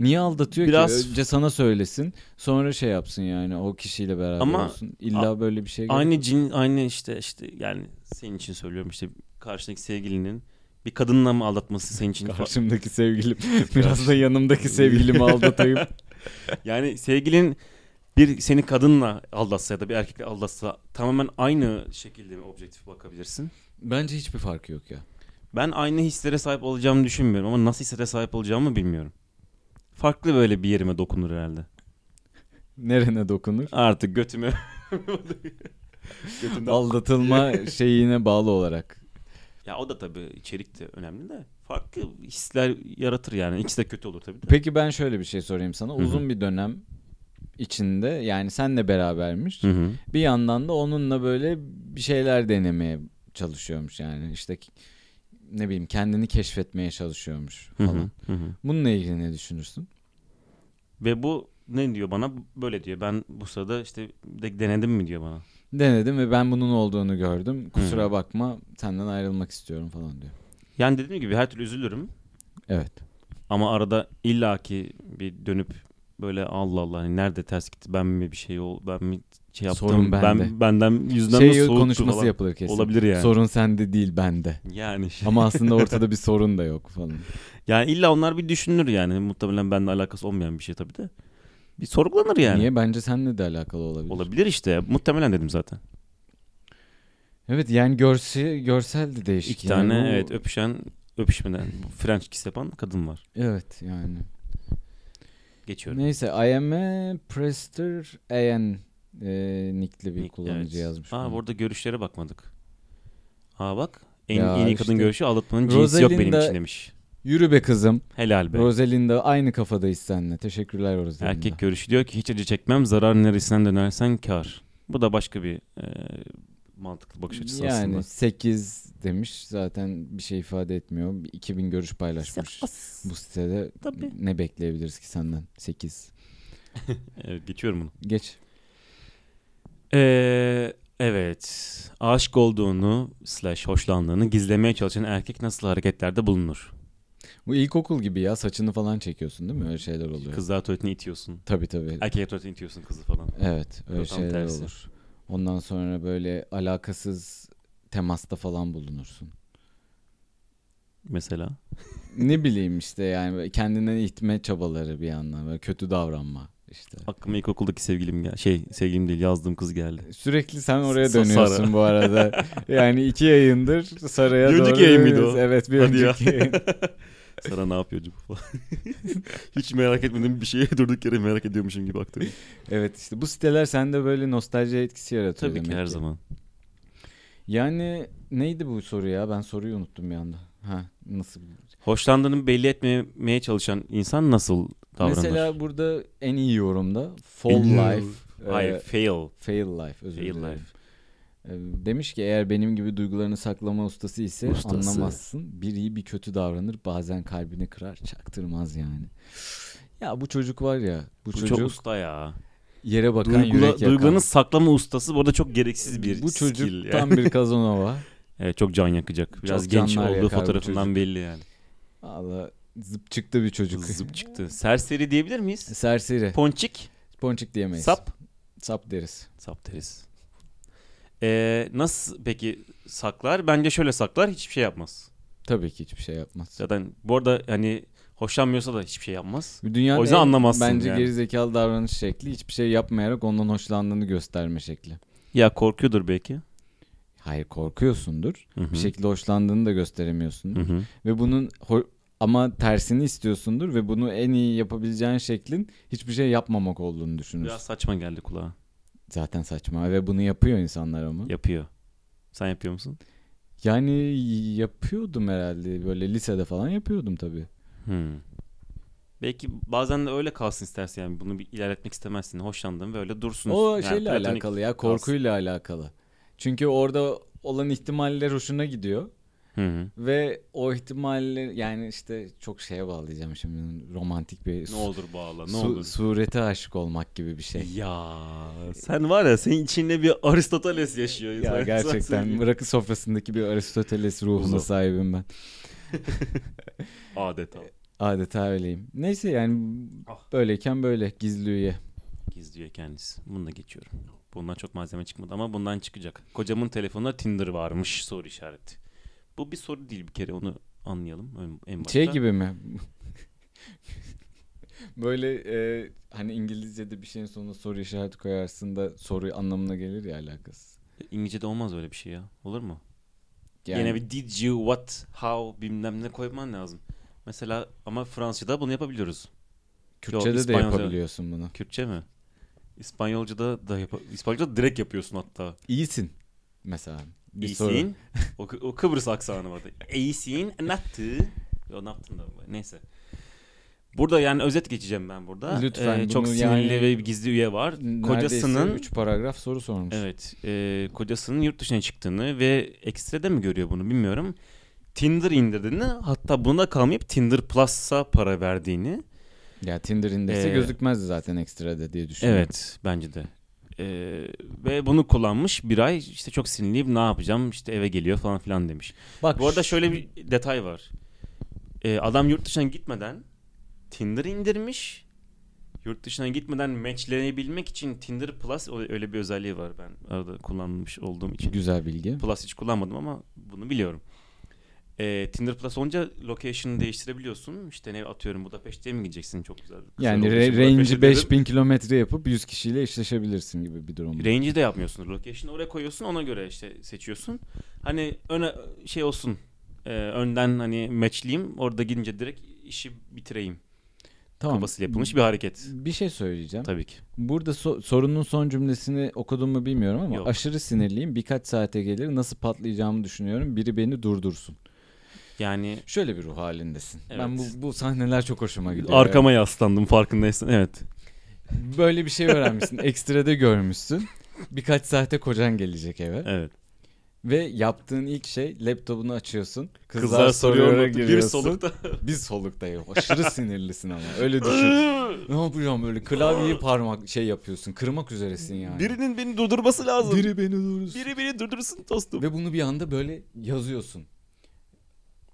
Niye aldatıyor
Biraz-
ki? Önce sana söylesin sonra şey yapsın yani o kişiyle beraber
Ama-
olsun. İlla böyle bir şey
Aynı cin aynı işte işte yani senin için söylüyorum işte karşındaki sevgilinin bir kadınla mı aldatması senin için fa-
Karşımdaki sevgilim. Biraz da yanımdaki sevgilimi aldatayım.
yani sevgilin bir seni kadınla aldatsa ya da bir erkekle aldatsa tamamen aynı şekilde mi objektif bakabilirsin?
Bence hiçbir farkı yok ya.
Ben aynı hislere sahip olacağımı düşünmüyorum ama nasıl hislere sahip olacağımı bilmiyorum. Farklı böyle bir yerime dokunur herhalde.
Nerene dokunur?
Artık götüme götümden
Aldatılma şeyine bağlı olarak.
Ya o da tabii içerik de önemli de farklı hisler yaratır yani. İkisi de kötü olur tabii de.
Peki ben şöyle bir şey sorayım sana.
Hı hı.
Uzun bir dönem içinde yani senle berabermiş.
Hı hı.
Bir yandan da onunla böyle bir şeyler denemeye çalışıyormuş yani. İşte ki- ne bileyim kendini keşfetmeye çalışıyormuş
Hı hı,
falan.
hı hı.
Bununla ilgili ne düşünürsün?
Ve bu ne diyor bana? Böyle diyor. Ben bu sırada işte de- denedim mi diyor bana.
Denedim ve ben bunun olduğunu gördüm. Kusura bakma senden ayrılmak istiyorum falan diyor.
Yani dediğim gibi her türlü üzülürüm.
Evet.
Ama arada illaki bir dönüp böyle Allah Allah hani nerede ters gitti ben mi bir şey ol ben mi şey yaptım
Sorun
ben
bende.
benden yüzden mi
Şey
soğuktu
konuşması
falan.
yapılır kesin.
olabilir yani.
Sorun sende değil bende.
Yani şey-
Ama aslında ortada bir sorun da yok falan.
yani illa onlar bir düşünür yani muhtemelen benimle alakası olmayan bir şey tabii de. Bir sorgulanır yani.
Niye? Bence seninle de alakalı olabilir.
Olabilir işte. Muhtemelen dedim zaten.
Evet yani görse, görsel de değişik.
İki
yani
tane
o-
evet öpüşen öpüşmeden French kiss yapan kadın var.
Evet yani.
Geçiyorum.
Neyse IME Prester AN e, nickli bir
Nick,
kullanıcı
evet.
yazmış.
Aa
bunu.
burada görüşlere bakmadık. Aa bak. En
Ya
iyi
işte.
kadın görüşü aldatmanın cinsi yok benim
Rosalinda-
için demiş.
Yürü be kızım.
Helal be.
Rosalinda aynı kafadayız seninle. Teşekkürler Rosalinda.
Erkek görüşü diyor ki hiç acı çekmem zarar neresinden dönersen kar. Bu da başka bir e, mantıklı bakış açısı
yani
aslında.
8 demiş zaten bir şey ifade etmiyor. 2000 görüş paylaşmış. Bu sitede
Tabii.
ne bekleyebiliriz ki senden? 8.
Evet, geçiyorum bunu.
Geç.
Ee, evet. Aşık olduğunu slash hoşlandığını gizlemeye çalışan erkek nasıl hareketlerde bulunur?
Bu ilkokul gibi ya saçını falan çekiyorsun değil mi? Öyle şeyler oluyor.
Kızlar tuvaletine itiyorsun.
Tabii tabii.
Erkek tuvaletine itiyorsun kızı falan.
Evet öyle
Tam
şeyler
tersi.
olur. Ondan sonra böyle alakasız temasta falan bulunursun.
mesela?
Ne bileyim işte yani böyle kendine itme çabaları bir yandan. Böyle kötü davranma işte.
Aklıma ilkokuldaki sevgilim gel şey sevgilim değil yazdığım kız geldi.
Sürekli sen oraya
Sa-
dönüyorsun
Sara.
bu arada. Yani iki yayındır Sara'ya
Bir
doğru.
önceki yayın mıydı o?
Evet bir
Hadi ya.
önceki yayın.
Sara ne yapıyor acaba falan. Hiç merak etmediğim bir şeye durduk yere merak ediyormuşum gibi baktım.
Evet işte bu siteler sende böyle nostalji etkisi yaratıyor
Tabii ki
demek
her zaman.
Yani neydi bu soru ya? Ben soruyu unuttum bir anda. Ha nasıl?
Hoşlandığını belli etmemeye çalışan insan nasıl davranır?
Mesela burada en iyi yorumda Fall
En iyi
Life. e,
Hayır, fail.
fail Life özür
Fail
dilerim.
Life.
E, Demiş ki eğer benim gibi duygularını saklama ustası ise
Ustası.
anlamazsın. Bir iyi bir kötü davranır bazen kalbini kırar çaktırmaz yani. Ya bu çocuk var ya bu,
Bu
çocuk
çok usta ya.
yere bakan
Duygula,
yürek yakan.
duygularını saklama ustası bu arada çok gereksiz bir
Bu
skill
çocuk
yani.
tam bir Kazanova.
Evet çok can yakacak. Biraz
Çok
genç
canlar
olduğu
yakar bu
fotoğrafından belli yani.
Valla zıp çıktı bir çocuk.
Zıp çıktı. Serseri diyebilir miyiz?
Serseri.
Ponçik,
Ponçik diyemeyiz.
sap,
Sap deriz.
sap deriz. Ee, nasıl peki saklar? Bence şöyle saklar hiçbir şey yapmaz.
Tabii ki hiçbir şey yapmaz.
Zaten bu arada hani hoşlanmıyorsa da hiçbir şey yapmaz.
Dünyanın
O yüzden
en
anlamazsın
bence
yani.
gerizekalı davranış şekli hiçbir şey yapmayarak ondan hoşlandığını gösterme şekli.
Ya korkuyordur belki.
Hayır korkuyorsundur.
Hı hı.
Bir şey- şekilde hoşlandığını da gösteremiyorsundur.
Hı hı.
Ve bunun ho- ama tersini istiyorsundur ve bunu en iyi yapabileceğin şeklin hiçbir şey yapmamak olduğunu düşünürsün.
Biraz saçma geldi kulağa.
Zaten saçma ve bunu yapıyor insanlar ama.
Yapıyor. Sen yapıyor musun?
Yani yapıyordum herhalde böyle lisede falan yapıyordum tabii.
Hı. Belki bazen de öyle kalsın istersin yani bunu bir ilerletmek istemezsin. Hoşlandın ve öyle dursun.
O
Yani
şeyle
platonik-
alakalı ya korkuyla alakalı. Çünkü orada olan ihtimaller hoşuna gidiyor.
Hı hı.
Ve o ihtimaller yani işte çok şeye bağlayacağım şimdi romantik bir
Ne
su-
olur bağla ne
su-
olur.
surete aşık olmak gibi bir şey.
Ya sen var ya senin içinde bir Aristoteles yaşıyor.
Ya gerçekten rakı sofrasındaki bir Aristoteles ruhuna
Uzak.
sahibim ben.
Adeta.
Adeta öyleyim. Neyse yani
Ah.
böyleyken böyle gizli üye.
Gizliyor kendisi. Bunu da geçiyorum. Bundan çok malzeme çıkmadı ama bundan çıkacak. Kocamın telefonunda Tinder varmış soru işareti. Bu bir soru değil bir kere onu anlayalım en- en başta.
Şey gibi mi? böyle e, hani İngilizce'de bir şeyin sonuna soru işareti koyarsın da soru anlamına gelir ya alakası.
İngilizce'de olmaz öyle bir şey ya. Olur mu?
Yani,
Yine bir did you, what, how bilmem ne koyman lazım. Mesela ama Fransızca'da bunu yapabiliyoruz. Yok,
Kürtçe'de de
İspanyolca.
yapabiliyorsun bunu.
Kürtçe mi? İspanyolca'da da yap İspanyolca'da direkt yapıyorsun hatta.
İyisin mesela. Bir soru.
İyisin. o, Kı- o Kıbrıs aksanı vardı. İyisin. Ne yaptı? Yo, ne yaptın da? Neyse. Burada yani özet geçeceğim ben burada. Ee,
Lütfen,
çok
bunu
sinirli
yani-
ve bir gizli üye var.
Neredeyse
Kocasının
üç paragraf soru sormuş.
evet, e, kocasının yurt dışına çıktığını ve ekstrede mi görüyor bunu bilmiyorum. Tinder indirdiğini hatta buna kalmayıp Tinder Plus'a para verdiğini.
Ya Tinder indeksi
Ee,
gözükmezdi zaten ekstrada diye düşünüyorum.
Evet bence de. E, ve bunu kullanmış bir ay işte çok sinirliyim ne yapacağım işte eve geliyor falan filan demiş.
Bak
Bu arada
şu-
şöyle bir detay var. Ee, adam yurt dışına gitmeden Tinder indirmiş. Yurt dışına gitmeden matchlenebilmek için Tinder Plus o- öyle bir özelliği var ben arada kullanmış olduğum için.
güzel bilgi.
Plus hiç kullanmadım ama bunu biliyorum. Ee, Tinder Plus olunca location'ı değiştirebiliyorsun. İşte ne atıyorum Budapeşte'ye mi gideceksin çok güzel. güzel
Yani
location
re-
Budapeşte
range'i
dedim.
5000 kilometre yapıp 100 kişiyle eşleşebilirsin gibi bir durum.
Range'i de yapmıyorsun. Location'ı oraya koyuyorsun ona göre işte seçiyorsun. Hani öne şey olsun. e, önden hani matchleyeyim. Orada gidince direkt işi bitireyim.
tamam.
Kafasıyla yapılmış bir hareket.
Bir şey söyleyeceğim.
Tabii ki.
Burada so- sorunun son cümlesini okudum mu bilmiyorum ama
Yok.
aşırı sinirliyim. Birkaç saate gelir nasıl patlayacağımı düşünüyorum. Biri beni durdursun.
Yani
Şöyle bir ruh halindesin.
Evet.
Ben bu, bu sahneler çok hoşuma gidiyor.
arkama yaslandım farkındaysan. Evet.
Böyle bir şey öğrenmişsin. ekstrede görmüşsün. Birkaç saate kocan gelecek eve.
Evet.
Ve yaptığın ilk şey laptopunu açıyorsun. Kızlar,
Kızlar, soruyor mu?
soruyor'a
bir
giriyorsun.
solukta.
Bir solukta yok. Aşırı sinirlisin ama. Öyle düşün. ne yapacağım böyle klavyeyi parmak şey yapıyorsun. Kırmak üzeresin yani.
Birinin beni durdurması lazım.
Biri beni durursun.
Biri beni durdursun dostum.
Ve bunu bir anda böyle yazıyorsun.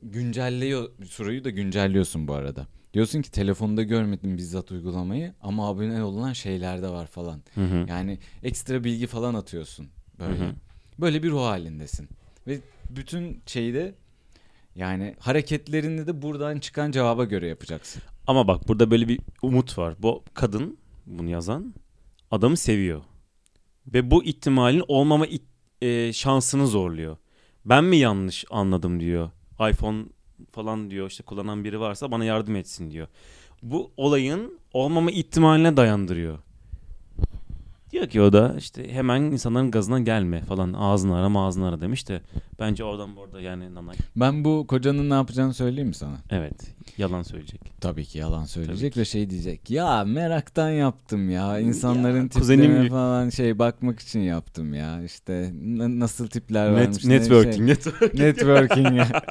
Güncelliyor. Soruyu da güncelliyorsun bu arada. Diyorsun ki telefonda görmedim bizzat uygulamayı ama abone olan şeylerde var falan.
Hı hı.
Yani ekstra bilgi falan atıyorsun
Hı
böyle.
hı.
Böyle bir ruh halindesin. Ve bütün şeyi de Yani hareketlerini de buradan çıkan cevaba göre yapacaksın.
Ama bak burada böyle bir umut var. Bu kadın bunu yazan adamı seviyor. Ve bu ihtimalin olmama it- e, şansını zorluyor. Ben mi yanlış anladım diyor. iPhone falan diyor işte kullanan biri varsa bana yardım etsin diyor. Bu olayın olmama ihtimaline dayandırıyor. Diyor ki o da işte hemen insanların gazına gelme falan ağzını ara ağzını ara demiş de bence oradan bu arada yani nanak
Ben bu kocanın ne yapacağını söyleyeyim mi sana?
evet yalan söyleyecek.
Tabii ki yalan söyleyecek ve şey diyecek. Ya meraktan yaptım ya. İnsanların
Ya, kuzenim
tiplerine
gibi."
falan şey bakmak için yaptım ya. İşte n- nasıl tipler
Net,
varmış. ne
networking
şey-
networking.
networking.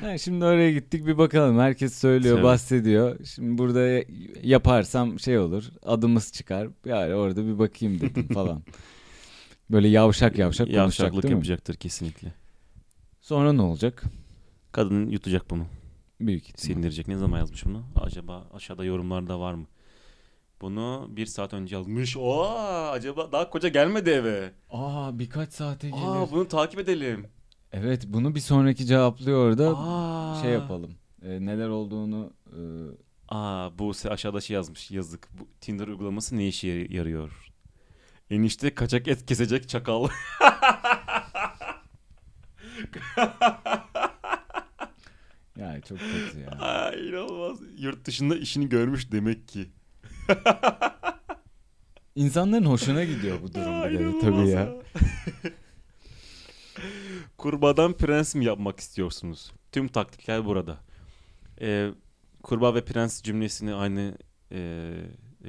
Ha, şimdi oraya gittik bir bakalım. Herkes söylüyor,
Tabii.
bahsediyor. Şimdi burada y- yaparsam şey olur. Adımız çıkar. Yani orada bir bakayım dedim falan. Böyle yavşak yavşak konuşacak
Yavşaklık
değil mi?
yapacaktır kesinlikle.
Sonra ne olacak?
Kadın yutacak bunu.
Büyük ihtimal.
Sindirecek. Ne zaman yazmış bunu? Acaba aşağıda yorumlarda var mı? Bunu bir saat önce yazmış. Oo, acaba daha koca gelmedi eve.
Aa birkaç saate gelir.
Aa, bunu takip edelim.
Evet bunu bir sonraki cevaplıyor da
Aa.
şey yapalım. Ee, neler olduğunu e,
Aa, bu se- aşağıda şey yazmış. Yazık. Bu Tinder uygulaması ne işe yar- yarıyor? Enişte kaçak et kesecek çakal.
yani çok kötü ya.
Aa, inanılmaz. Yurt dışında işini görmüş demek ki.
İnsanların hoşuna gidiyor bu durum
Aa,
bir de,
inanılmaz
tabii
ya.
ya.
Kurbağadan prens mi yapmak istiyorsunuz? Tüm taktikler burada. Ee, kurbağa ve prens cümlesini aynı e,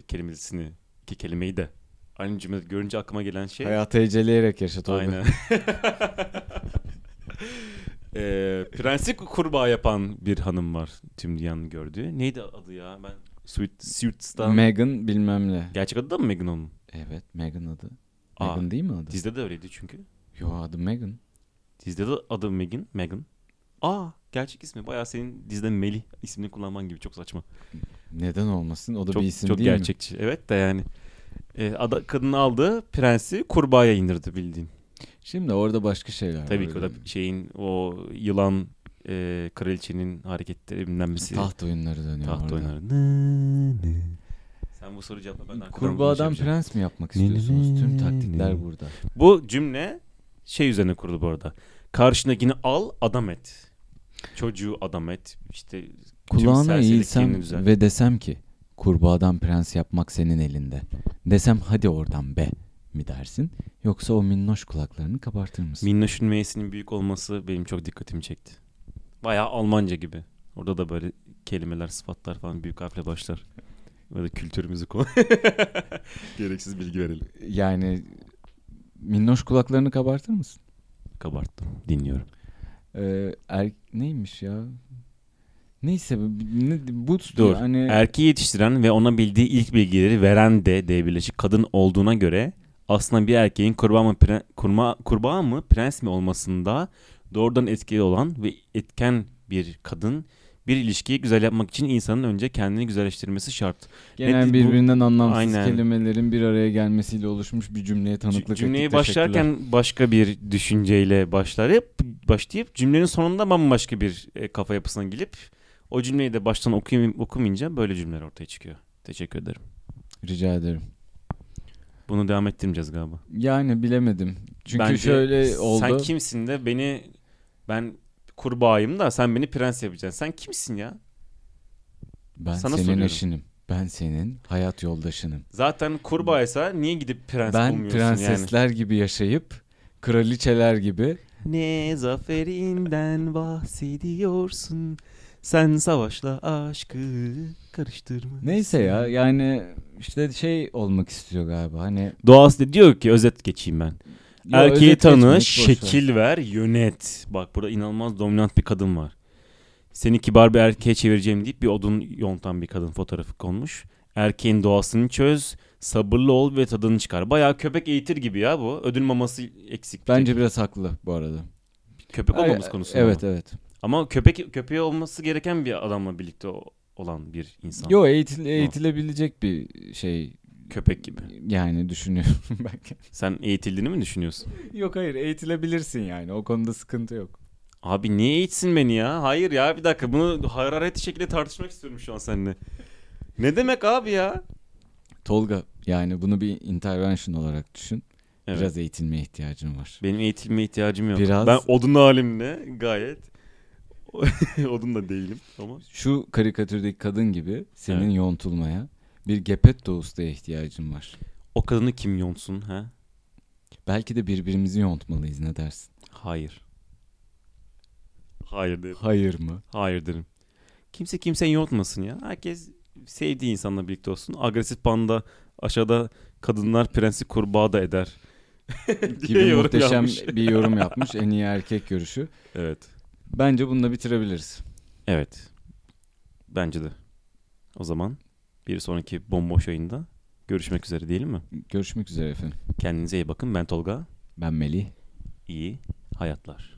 kelimesini iki kelimeyi de aynı cümlede görünce aklıma gelen şey.
Hayatı heceleyerek yaşat orada.
Aynen. Ee, prensi kurbağa yapan bir hanım var tüm dünyanın gördüğü. Neydi adı ya? Ben Sweet Suits'tan.
Megan bilmem ne.
Gerçek adı da mı Megan onun?
Evet Megan adı.
Aa,
Megan değil mi adı?
Dizide de öyleydi çünkü.
Yo adı Megan.
Dizide de adı Megan. Megan. Aa gerçek ismi. Bayağı senin dizide Melih ismini kullanman gibi çok saçma.
Neden olmasın? O da
çok
bir isim
çok
değil mi?
gerçekçi. Evet de yani. E, ada, kadını aldı prensi kurbağaya indirdi bildiğin.
Şimdi orada başka şeyler
Tabii
var.
ki o da şeyin o yılan e, kraliçenin hareketleri bilmem nesi.
Taht oyunları dönüyor
Taht
orada.
oyunları. Nı, nı. Sen bu soruyu cevapla ben de arkadan
Kurbağadan
konuşacağım.
prens mi yapmak
Ne, ne,
istiyorsunuz? Tüm
ne,
taktikler
ne.
burada.
Bu cümle şey üzerine kurulu bu arada. Karşındakini al adam et. Çocuğu adam et. İşte tüm
Kulağına
serseriliklerini
eğilsem
düzelt.
ve desem ki kurbağadan prens yapmak senin elinde. Desem hadi oradan be mi dersin? Yoksa o minnoş kulaklarını kabartır mısın?
Minnoş'un M'sinin büyük olması benim çok dikkatimi çekti. Bayağı Almanca gibi. Orada da böyle kelimeler, sıfatlar falan büyük harfle başlar. Böyle kültürümüzü konu. Gereksiz bilgi verelim.
yani minnoş kulaklarını kabartır mısın?
Kabarttım. Dinliyorum.
Ee, er, neymiş ya? Neyse bu- ne, bu
Dur. Er,
hani
Erkeği yetiştiren ve ona bildiği ilk bilgileri veren de diye birleşik kadın olduğuna göre aslında bir erkeğin kurbağa mı, pre- kurma, kurbağa mı prens mi olmasında doğrudan etkili olan ve etken bir kadın bir ilişkiyi güzel yapmak için insanın önce kendini güzelleştirmesi şart.
genel
ne- bu-
birbirinden anlamsız
Aynen.
kelimelerin bir araya gelmesiyle oluşmuş bir cümleye tanıklık ettik.
Cümleye
Teşekkürler.
başlarken başka bir düşünceyle başlar hep başlayıp cümlenin sonunda bambaşka bir e, kafa yapısına gelip o cümleyi de baştan okuyayım, okumayınca böyle cümleler ortaya çıkıyor. Teşekkür ederim.
rica ederim.
Bunu devam ettirmeyeceğiz galiba.
Yani bilemedim. Çünkü
Bence
şöyle oldu.
Sen kimsin de beni ben kurbağayım da sen beni prens yapacaksın. Sen kimsin ya?
Ben
Sana
senin
soruyorum.
eşinim. Ben senin hayat yoldaşınım.
Zaten kurbağaysa niye gidip prens
ben
olmuyorsun yani?
prensesler gibi yaşayıp kraliçeler gibi
Ne zaferinden bahsediyorsun? Sen savaşla aşkı karıştırma.
neyse ya yani işte şey olmak istiyor galiba hani
Doğası da diyor ki özet geçeyim ben.
Ya
Erkeği
özet geçmek
tanı,
boş ver.
şekil ver, yönet. Bak burada inanılmaz dominant bir kadın var. Seni kibar bir erkeğe çevireceğim deyip bir odun yontan bir kadın fotoğrafı konmuş. Erkeğin doğasını çöz, sabırlı ol ve tadını çıkar. Bayağı köpek eğitir gibi ya bu. Ödül maması eksik.
bence biraz haklı bu arada.
köpek olmamız
Ay-
konusunda.
Evet evet.
Ama köpek köpeği olması gereken bir adamla birlikte o- olan bir insan.
Yo eğitil- eğitilebilecek bir şey
Köpek gibi.
yani düşünüyorum ben.
Sen eğitildiğini mi düşünüyorsun?
Yok hayır eğitilebilirsin yani o konuda sıkıntı yok.
Abi niye eğitsin beni ya? Hayır ya bir dakika bunu hararetli şekilde tartışmak istiyorum şu an seninle. Ne demek abi ya?
Tolga yani bunu bir intervention olarak düşün.
Evet.
Biraz eğitilmeye ihtiyacın var.
Benim eğitilmeye ihtiyacım yok.
Biraz-
Ben odun halimle gayet odun da değilim ama
Şu karikatürdeki kadın gibi senin
Evet.
yontulmaya bir gepetto ustaya ihtiyacın var.
o kadını kim yonsun ha?
Belki de birbirimizi yontmalıyız ne dersin?
Hayır. Hayır derim.
Hayır mı?
Hayır derim. Kimse kimseyi yontmasın ya. Herkes sevdiği insanla birlikte olsun. Agresif panda aşağıda kadınlar prensi kurbağa da eder.
Gibi
yorum
muhteşem
yapmış.
bir yorum yapmış. en iyi erkek görüşü.
Evet.
Bence bununla bitirebiliriz.
Evet. Bence de. O zaman bir sonraki bomboş yayında görüşmek üzere diyelim mi?
Görüşmek üzere efendim.
Kendinize iyi bakın. Ben Tolga.
Ben Melih.
İyi hayatlar.